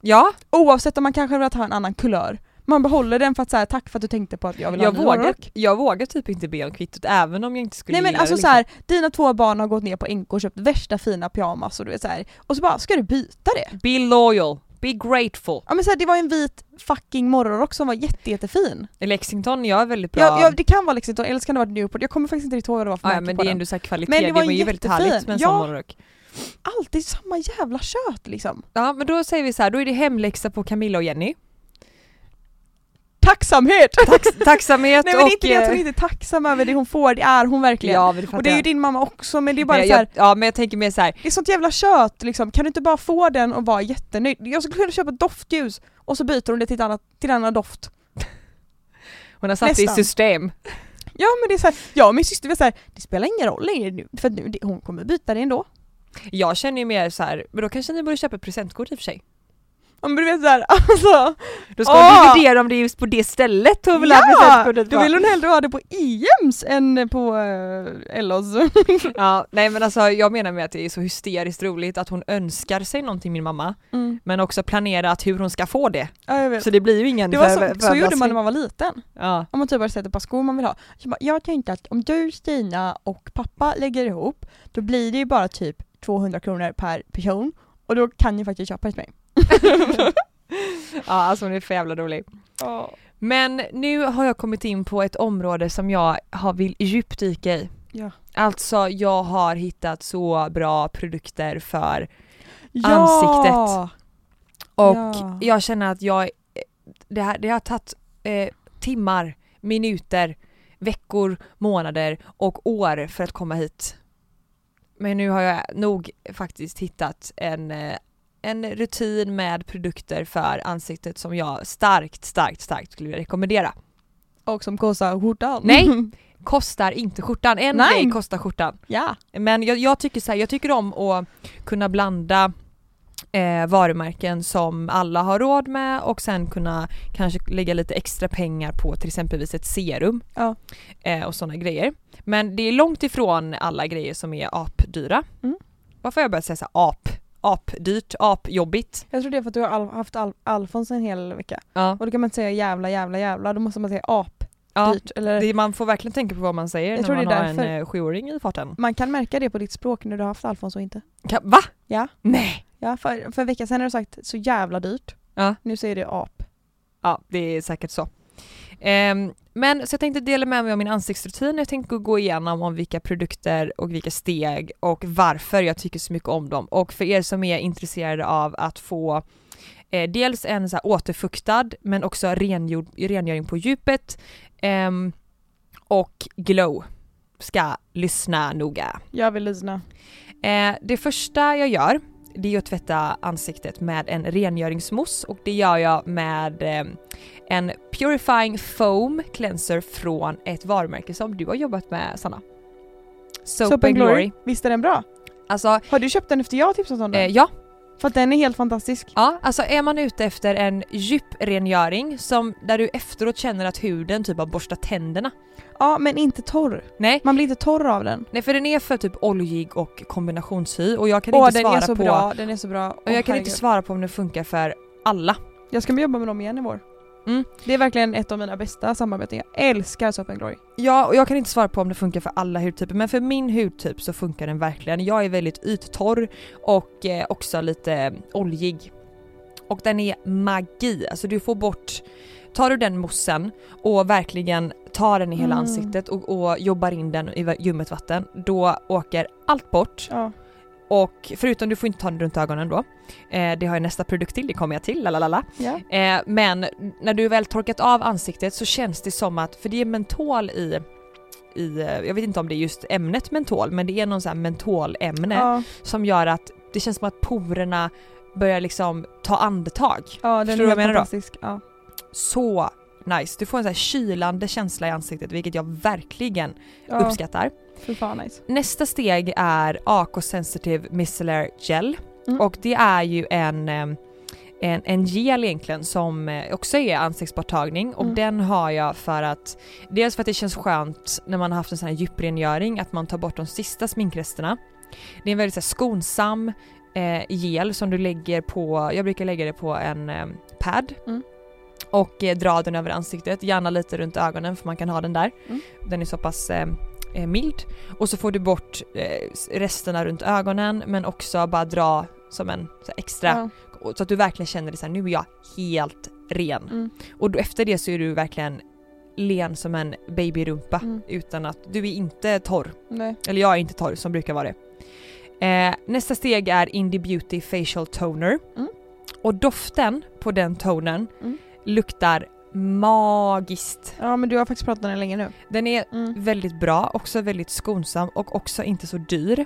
Ja, Oavsett om man kanske vill ha en annan kulör. Man behåller den för att så här, tack för att du tänkte på att jag vill ha jag en ny vågar, morgonrock. jag vågar typ inte be om kvittot även om jag inte skulle Nej men gilla alltså det. liksom. så här, dina två barn har gått ner på NK och köpt värsta fina pyjamas och du vet så här, och så bara ska du byta det? liksom. Be loyal, be grateful. Ja men så här, det var en vit fucking morgonrock som var jätte, jättefin. Lexington, jag är väldigt bra. Ja, ja, det kan vara liksom, Lexington eller så kan det vara Newport, jag kommer faktiskt inte riktigt ihåg vad det var för ah, ja, märke men på det är den. ändå så här kvalitet, Men det det var var ju väldigt härligt jättefin. med en Ja. sån morgonrock. alltid samma jävla kött liksom. Ja men då säger vi så här, då är det hemläxa på Camilla och Jenny. Tacksamhet! Tax- tacksamhet [laughs] Nej men det är och... inte det, jag tror eh, inte är tacksam över det hon får, det är hon verkligen. Ja, men det och det är fattar ju jag. din mamma också men det är bara Nej, så här, jag, ja men jag tänker mer så här. det är sånt jävla kött liksom, kan du inte bara få den och vara jättenöjd? Jag skulle kunna köpa doftljus och så byter hon det till, ett annat, till en annan doft. hon har satt det i Nästan. system. Ja men det är så här, jag och min syster var så här, det spelar ingen roll längre nu för att nu, det- hon kommer byta det ändå. Jag känner ju mer så här, men då kanske ni borde köpa ett presentkort i och för sig. Om du vet såhär, [laughs] alltså. Då ska hon Åh! dividera om det är just på det stället hon vill ha Ja! presentkortet Då på. vill hon hellre ha det på IEMs än på eh, Ellos. Ja, nej men alltså jag menar med att det är så hysteriskt roligt att hon önskar sig någonting min mamma Mm. men också planerat hur hon ska få det. Ja, jag vet. Så det blir ju ingen Det var för- så, så gjorde man överraskning. när man var liten. Ja. Om man typ hade sett ett par skor man vill ha. Så bara, jag tänkte att om du, Stina och pappa lägger ihop då blir det ju bara typ 200 kronor per person och då kan ni faktiskt köpa ett mig. ja, [laughs] alltså hon är för jävla rolig. Men nu har jag kommit in på ett område som jag har vill djupdyka i. Ja. Alltså jag har hittat så bra produkter för Ja! Ansiktet. och Ja. jag känner att jag, det, här, det har tagit eh, timmar, minuter, veckor, månader och år för att komma hit. Men nu har jag nog faktiskt hittat en, eh, en rutin med produkter för ansiktet som jag starkt, starkt, starkt skulle vilja rekommendera. Och som kostar skjortan. Nej. Kostar inte skjortan, en Nej. grej kostar skjortan. [laughs] ja. Men jag, jag tycker så här, jag tycker om att kunna blanda eh, varumärken som alla har råd med och sen kunna kanske lägga lite extra pengar på till exempelvis ett serum Ja. eh, och sådana grejer. Men det är långt ifrån alla grejer som är apdyra. Mm. Varför har jag börjat säga så här, ap? Apdyrt, apjobbigt. Jag tror det är för att du har al- haft al- Alfons en hel vecka. Ja. Och då kan man inte säga jävla jävla jävla, då måste man säga ap. Ja. Dyrt, eller Det, man får verkligen tänka på vad man säger Jag när tror man det är har därför. en eh, sjuåring i farten. Man kan märka det på ditt språk när du har haft Alfons och inte. Ka- Va? Ja. Nej! Ja, för, för en vecka sedan har du sagt så jävla dyrt. Ja. Nu säger du ap. Ja, det är säkert så. Ehm, men så jag tänkte dela med mig av min ansiktsrutin. Jag tänkte gå igenom om vilka produkter och vilka steg och varför jag tycker så mycket om dem. Och för er som är intresserade av att få eh, dels en så här återfuktad men också rengjord, rengöring på djupet ehm, och glow ska lyssna noga. Jag vill lyssna. Eh, det första jag gör det är att tvätta ansiktet med en rengöringsmousse och det gör jag med eh, en Purifying Foam Cleanser från ett varumärke som du har jobbat med Sanna. Soap, and Glory. Visst är den bra? Alltså, Har du köpt den efter jag har tipsat om den? eh, ja, För att den är helt fantastisk. ja, alltså är man ute efter en djuprengöring som, där du efteråt känner att huden typ har borstat tänderna. Ja, men inte torr. Nej, Man blir inte torr av den. nej för den är för typ oljig och kombinationshy och jag kan Åh, inte den svara är så på bra. Den är så bra. och Åh, jag kan inte herregud. svara på om den funkar för alla. jag ska jobba med dem igen i vår. Mm. Det är verkligen ett av mina bästa samarbeten. Jag älskar Soap and Glory. Ja, och jag kan inte svara på om det funkar för alla hudtyper men för min hudtyp så funkar den verkligen. Jag är väldigt yttorr och eh, också lite oljig. Och den är magi, alltså du får bort, tar du den moussen och verkligen tar den i hela Mm. ansiktet och, och jobbar in den i va- ljummet vatten, då åker allt bort. Ja. Och förutom du får inte ta den runt ögonen då, eh, det har jag nästa produkt till, det kommer jag till, lalalala. Ja. Eh, men när du väl torkat av ansiktet så känns det som att, för det är mentol i, i eh, jag vet inte om det är just ämnet mentol, men det är någon sån här mentolämne Ja, som gör att det känns som att porerna börjar liksom ta andetag. Förstår ja den du är vad jag helt menar då? fantastisk. Ja. Så nice, du får en sån här kylande känsla i ansiktet vilket jag verkligen Ja, uppskattar. fy fan nice. Nästa steg är AK Sensitive Micellar Gel Mm. och det är ju en, eh, en, en gel egentligen som eh, också är ansiktsborttagning och Mm. den har jag för att dels för att det känns skönt när man har haft en sån här djuprengöring att man tar bort de sista sminkresterna. Det är en väldigt så här, skonsam eh, gel som du lägger på, jag brukar lägga det på en eh, pad Mm. och eh, dra den över ansiktet, gärna lite runt ögonen för man kan ha den där. Mm. Den är så pass eh, eh, mild och så får du bort eh, resterna runt ögonen men också bara dra som en så här, extra Ja. och- så att du verkligen känner det så här, nu är jag helt ren. Mm. Och då, efter det så är du verkligen len som en babyrumpa Mm. utan att du är inte torr. Nej. Eller jag är inte torr som brukar vara det. Eh, nästa steg är Indie Beauty Facial Toner. Mm. Och doften på den tonen Mm. luktar magiskt. Ja men du har faktiskt pratat om den länge nu. Den är Mm. väldigt bra, också väldigt skonsam och också inte så dyr.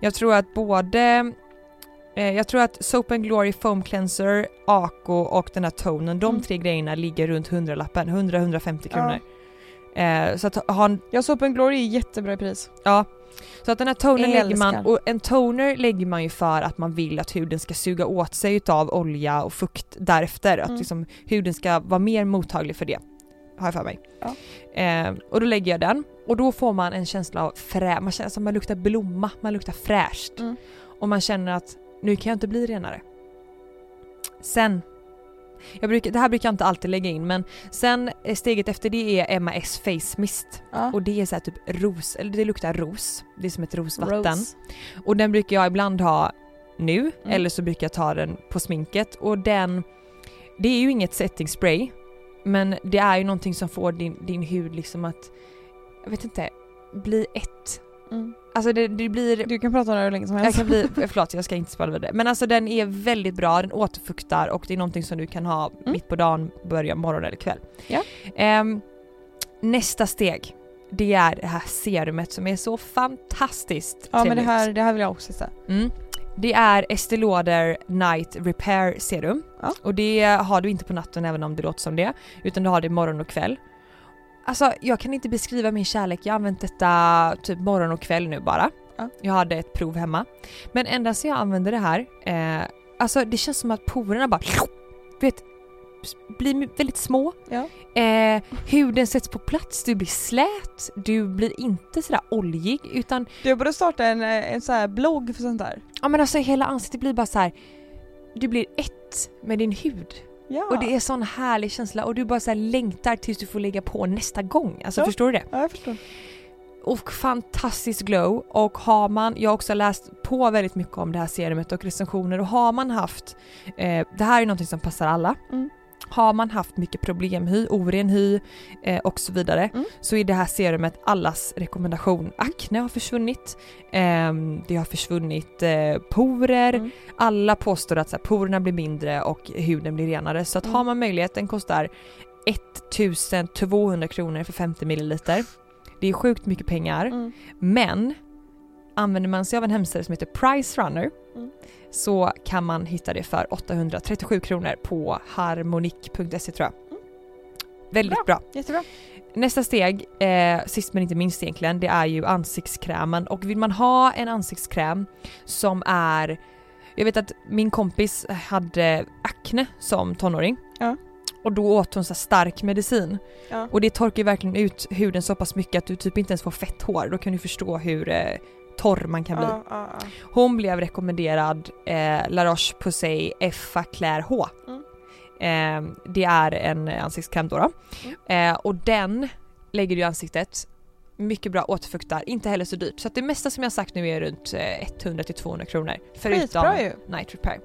Jag tror att både eh, jag tror att Soap and Glory Foam Cleanser, Ako och den här tonen, de Mm. tre grejerna ligger runt 100-lappen, 100-150 Ja. kronor. Eh, så att ha en Ja Soap and Glory är jättebra i pris. Ja. Så att den här tonern Älskar. lägger man, och en toner lägger man ju för att man vill att huden ska suga åt sig utav olja och fukt därefter. Att Mm. liksom huden ska vara mer mottaglig för det. Har jag för mig. Ja. Eh, och då lägger jag den och då får man en känsla av frä, man känner som man luktar blomma, man luktar fräscht. Mm. Och man känner att nu kan jag inte bli renare. Sen, jag brukar, det här brukar jag inte alltid lägga in men sen eh, steget efter det är MAS Face Mist. Ja. Och det är så här typ ros, eller det luktar ros. Det är som ett rosvatten. Rose. Och den brukar jag ibland ha nu, Mm. eller så brukar jag ta den på sminket. Och den, det är ju inget setting spray, men det är ju någonting som får din, din hud liksom att, jag vet inte, bli ett. Mm. Alltså det, det blir Du kan prata om det hur länge som helst. jag kan [laughs] bli, förlåt jag ska inte spela vidare. Men alltså den är väldigt bra, den återfuktar och det är någonting som du kan ha mitt på dagen, börja morgon eller kväll. Mm. Ja. Ehm, nästa steg, det är det här serumet som är så fantastiskt Ja men det trevligt. här, det här vill jag också se. Mm. Det är Estée Lauder Night Repair Serum. Ja. Och det har du inte på natten även om det låter som det. Utan du har det morgon och kväll. Alltså jag kan inte beskriva min kärlek, jag har använt detta typ morgon och kväll nu bara. Ja. Jag hade ett prov hemma. Men ända sedan jag använde det här, eh, alltså det känns som att porerna bara [sniffs] vet, blir väldigt små. Ja. Eh, huden sätts på plats, du blir slät, du blir inte sådär oljig utan Du jag borde starta en, eh, en så här blogg för sånt där. Ja men alltså hela ansiktet blir bara så här. du blir ett med din hud. Ja, Och det är sån härlig känsla och du bara så här längtar tills du får lägga på nästa gång. Alltså Ja. förstår du det? ja jag förstår. Och fantastisk glow och har man, jag har också läst på väldigt mycket om det här serumet och recensioner och har man haft, eh, det här är någonting som passar alla. Mm. Har man haft mycket problemhy, oren hy eh, och så vidare Mm. så är det här serumet allas rekommendation. Akne har försvunnit, ehm, det har försvunnit eh, porer, Mm. alla påstår att så här, porerna blir mindre och huden blir renare så att Mm. har man möjlighet, den kostar 1200 kronor för 50 milliliter. Det är sjukt mycket pengar Mm. men använder man sig av en hemsida som heter Price Runner Mm. så kan man hitta det för 837 kronor på harmonic.se tror jag. Mm. Väldigt bra. Jättebra. Nästa steg, eh, sist men inte minst egentligen, det är ju ansiktskrämen och vill man ha en ansiktskräm som är jag vet att min kompis hade akne som tonåring Ja. och då åt hon så här stark medicin Ja. och det torkar ju verkligen ut huden så pass mycket att du typ inte ens får fett hår. Då kan du förstå hur eh, torr man kan bli. Ja, ja, ja. Hon blev rekommenderad eh, La Roche-Posay Effa Claire H. Mm. Eh, det är en ansiktskräm då. då. Mm. Eh, och den lägger du i ansiktet. Mycket bra, återfuktar, inte heller så dyrt. Så att det mesta som jag sagt nu är runt eh, 100-200 kronor. Förutom Skitbra ju. Night Repair.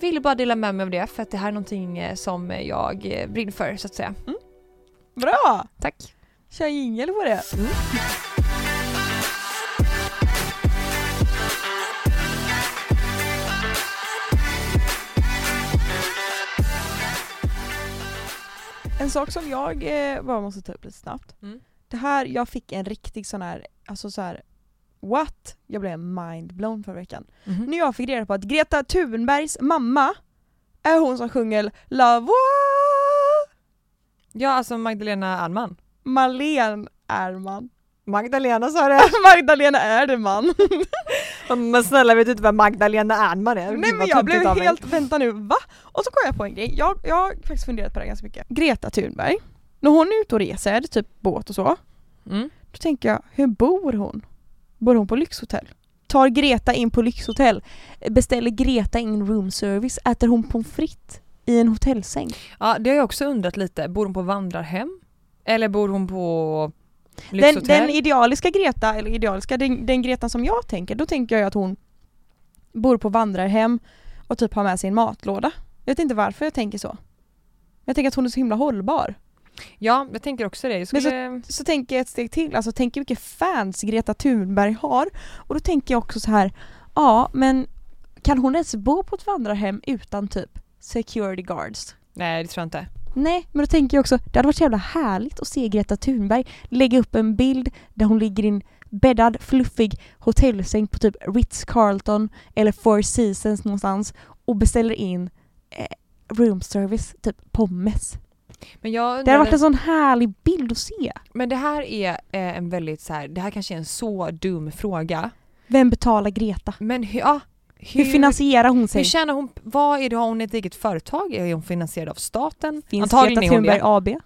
Vill bara dela med mig av det för att det här är någonting eh, som jag eh, brinner för så att säga. Bra! Tack! Kör jingel på det. Mm. En sak som jag eh, bara måste ta upp lite snabbt. Mm. Det här, jag fick en riktig sån här, alltså så här what? Jag blev mindblown förra veckan. När jag fick reda på att Greta Thunbergs mamma är hon som sjunger La Voix Ja, alltså Magdalena Alman. Malene Ernman. Magdalena sa det! [laughs] Magdalena Erdman. Men snälla vet du inte vem Magdalena Ernman är? Nej men jag blev helt, vänta nu, va? Och så kom jag på en grej, jag, jag har faktiskt funderat på det här ganska mycket. Greta Thunberg, när hon är ute och reser, typ båt och så, Mm. då tänker jag, hur bor hon? Bor hon på lyxhotell? Tar Greta in på lyxhotell? Beställer Greta in room service? Äter hon pommes frites i en hotellsäng? Ja, det har jag också undrat lite. Bor hon på vandrarhem? Eller bor hon på Den, lyxhotell? den idealiska Greta, eller idealiska, den, den Greta som jag tänker, då tänker jag ju att hon bor på vandrarhem och typ har med sig en matlåda. Jag vet inte varför jag tänker så. Jag tänker att hon är så himla hållbar. Ja, jag tänker också det. Jag Men så- skulle... Så tänker jag ett steg till, alltså tänk hur mycket fans Greta Thunberg har. Och då tänker jag också så här, ja men kan hon ens bo på ett vandrarhem utan typ security guards? Nej, det tror jag inte. Nej, men då tänker jag också, det hade varit så jävla härligt att se Greta Thunberg lägga upp en bild där hon ligger i en bäddad, fluffig hotellsäng på typ Ritz-Carlton eller Four Seasons någonstans och beställer in eh, room service, typ pommes. Men, jag Det undrar, hade varit en sån härlig bild att se. men det här är eh, en väldigt så här, det här kanske är en så dum fråga. Vem betalar Greta? Men hur, ja, hur, Hur finansierar hon sig? hur tjänar hon, vad är det, har hon ett eget företag? Är hon finansierad av staten? Finns Antagligen Greta är hon Thunberg det. AB?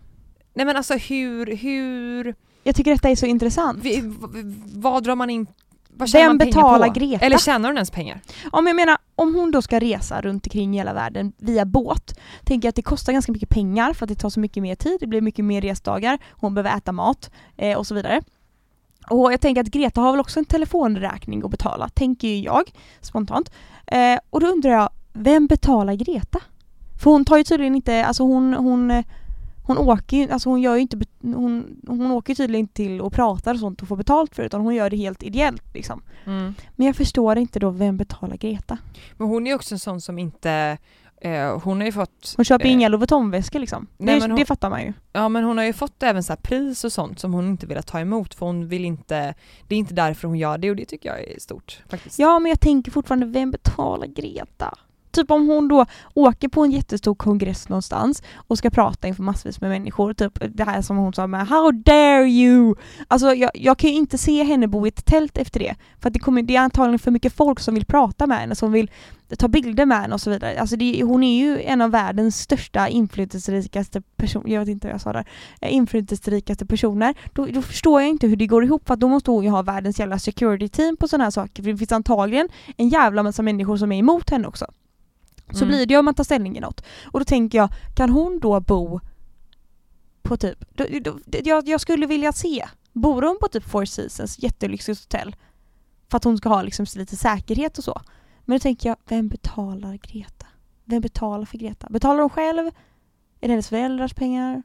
Nej men alltså hur, hur, Jag tycker detta är så intressant. vi, v- vad drar man in, vad tjänar Vem man pengar betalar på? Greta? Eller tjänar hon ens pengar? Om jag menar, om hon då ska resa runt omkring hela världen via båt, tänker jag att det kostar ganska mycket pengar för att det tar så mycket mer tid, det blir mycket mer resdagar, hon behöver äta mat eh, och så vidare. Och jag tänker att Greta har väl också en telefonräkning att betala, tänker ju jag spontant. Eh, och då undrar jag, vem betalar Greta? För hon tar ju tydligen inte, alltså hon, hon, eh, hon åker ju, alltså hon gör ju inte, bet- hon, hon åker ju tydligen inte till och pratar och sånt och får betalt för det, utan hon gör det helt ideellt liksom. Mm. Men jag förstår inte då, vem betalar Greta? Men hon är ju också en sån som inte, eh, hon har ju fått, Hon köper ju Eh. inga Louis Vuitton-väskor liksom. Nej, det, men hon- det fattar man ju. ja men hon har ju fått även så här pris och sånt som hon inte velat ta emot för hon vill inte, det är inte därför hon gör det och det tycker jag är stort faktiskt. Ja men jag tänker fortfarande, vem betalar Greta? Typ om hon då åker på en jättestor kongress någonstans och ska prata inför massvis med människor, typ det här som hon sa med How dare you! Alltså jag, jag kan ju inte se henne bo i ett tält efter det. För att det, kommer, det är antagligen för mycket folk som vill prata med henne, som vill ta bilder med henne och så vidare. Alltså det, hon är ju en av världens största inflytelserikaste personer, jag vet inte vad jag sa där, eh, inflytelserikaste personer. Då, då förstår jag inte hur det går ihop för att då måste hon ju ha världens jävla security team på sådana här saker. För det finns antagligen en jävla massa människor som är emot henne också. Så Mm. blir det ju om man tar ställning i något. Och då tänker jag, kan hon då bo på typ, då, då, jag, jag skulle vilja se, bor hon på typ Four Seasons jättelyxigt hotell? För att hon ska ha liksom lite säkerhet och så. Men då tänker jag, vem betalar Greta? Vem betalar för Greta? Betalar hon själv? Är det hennes föräldrars pengar?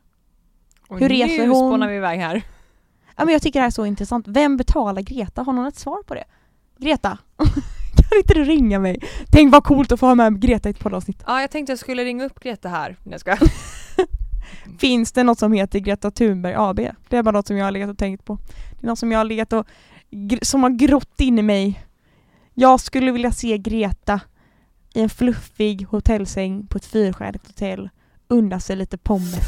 Och hur reser nu hon? spånar vi iväg här. Ja, men jag tycker det här är så intressant. Vem betalar Greta? Har någon ett svar på det? Greta, [laughs] kan inte du ringa mig? Tänk vad coolt att få ha med Greta i ett poddavsnitt. Ja jag tänkte jag skulle ringa upp Greta här, Nej, jag ska. Finns det något som heter Greta Thunberg AB? Det är bara något som jag har legat och tänkt på. Det är något som jag har legat och gr- som har grott in i mig. Jag skulle vilja se Greta i en fluffig hotellsäng på ett fyrstjärnigt hotell unna sig lite pommes.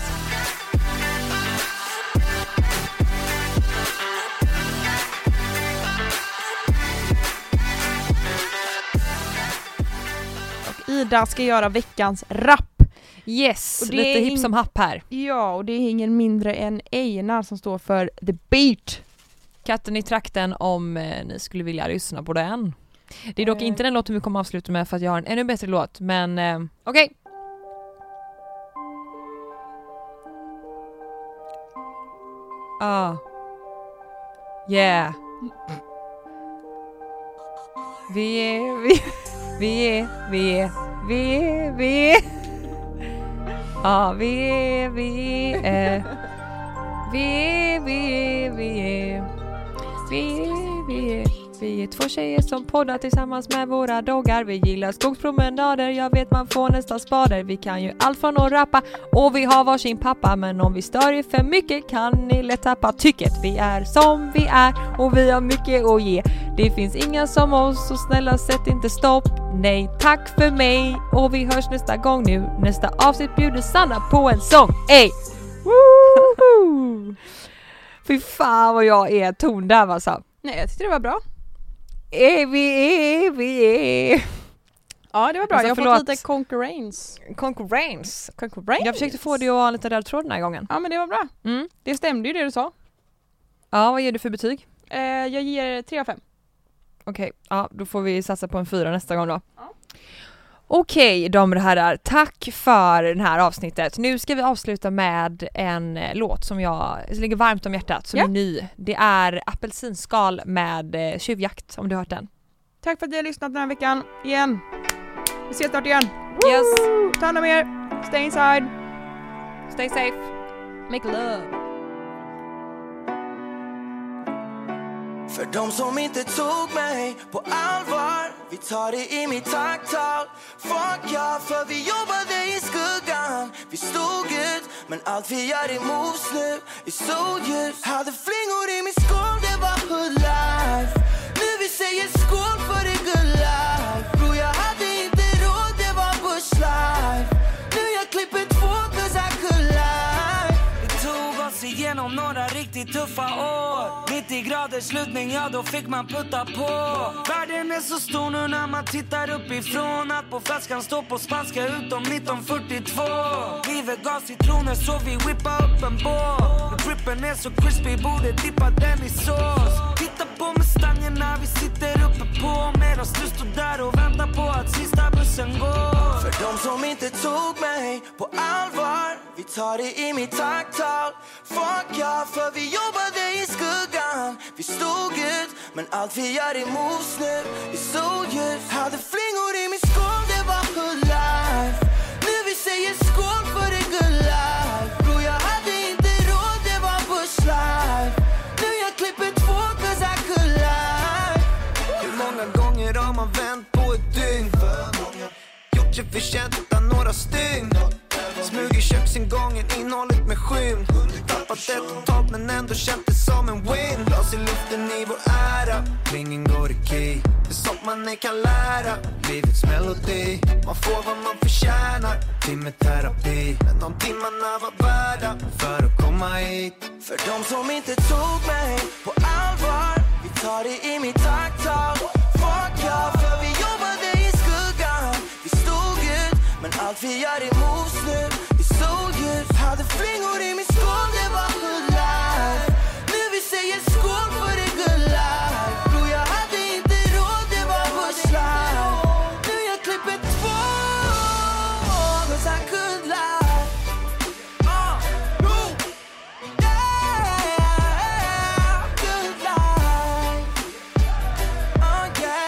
Och Ida ska göra veckans rapp. Yes, Och det lite är hipp in- som happ här. Ja, och det är ingen mindre än Einar som står för The Beat. Katten i trakten om eh, ni skulle vilja lyssna på den. Det är dock Eh. inte den låten vi kommer avsluta med för att jag har en ännu bättre låt men eh, okej. Ah. Yeah. Vi är, vi, vi är, vi är, vi är, vi är. Ja, vi är, vi är. Vi är, vi är, vi är. Vi är, vi är. Vi är två tjejer som poddar tillsammans med våra doggar. Vi gillar skogspromenader, jag vet man får nästan spader. Vi kan ju allt från att rappa och vi har varsin pappa. Men om vi stör er för mycket kan ni lätt tappa tycket. Vi är som vi är och vi har mycket att ge. Det finns inga som oss så snälla sätt inte stopp. Nej tack för mig och vi hörs nästa gång nu. Nästa avsnitt bjuder Sanna på en sång. Ey! Woho! [laughs] Fy fan vad jag är tondöv alltså. Nej, jag tyckte det var bra. Ey, vi är, vi är. Ja, det var bra. Alltså, jag har förlåt. fått lite concurrence. Konkurrens. concurrence. Jag försökte få dig att ha en liten röd tråd den här gången. Ja, men det var bra. Mm. Det stämde ju det du sa. Ja, vad ger du för betyg? Eh, jag ger 3 av 5. Okej, ja, då får vi satsa på en fyra nästa gång då. Ja. Okej damer och herrar, tack för det här avsnittet. Nu ska vi avsluta med en eh, låt som jag som ligger varmt om hjärtat, som Ja. är ny. Det är Apelsinskal med eh, Tjuvjakt, om du har hört den. Tack för att ni har lyssnat den här veckan igen. Vi ses snart igen. Yes. Woo! Ta hand om er. Stay inside. Stay safe. Make love. För de som inte tog mig på allvar Vi tar det i mitt takttal Fuck ja, för vi jobbade i skuggan Vi stod ut, men allt vi gör är moves nu I solljus Hade flingor i min skål, det var hood life Nu vi säger skål för det good life Bror jag hade inte råd, det var bush life Nu jag klipper två cause I could lie några riktigt tuffa år 90 graders lutning, ja då fick man putta på Världen är så stor nu när man tittar uppifrån Att på flaskan står på spanska utom 1942 Livet gav citroner så vi whippa upp en båt Drippen är så crispy, borde dippa den i sås Titta på Mustangen när vi sitter uppe på Medan du står där och väntar på att sista bussen går För de som inte tog mig på allvar Vi tar det i mitt takttal Fuck ja, för vi jobbade i skuggan Vi stod ut, men allt vi gör är moves nu I solljus Hade flingor i min skål, det var hood life Nu vi säger skål för det good life Bror jag hade inte råd, det var bush life Nu jag klipper två, cause I could lie Hur många gånger har man vänt på ett dygn? Gjort sig förtjänt av några stygn Smug i köksingången, innehållet med skymd Tappat det totalt men ändå känt det som en win Glas i luften i vår ära, ringen går i key Det är sånt man ej kan lära, livets melodi Man får vad man förtjänar, timme terapi Men de timmarna var värda för att komma hit För de som inte tog mig på allvar Vi tar det i mitt takttal Fuck ja, för vi jobbade i skuggan Vi stod ut, men allt vi gör är moves nu I solljus Hade flingor i min skål, det var hood life Nu vi säger skål för det good life Bror jag hade inte råd, det var bush life Nu jag klipper två, cause I could lie Ah, no. Yeah, good life. Oh, yeah.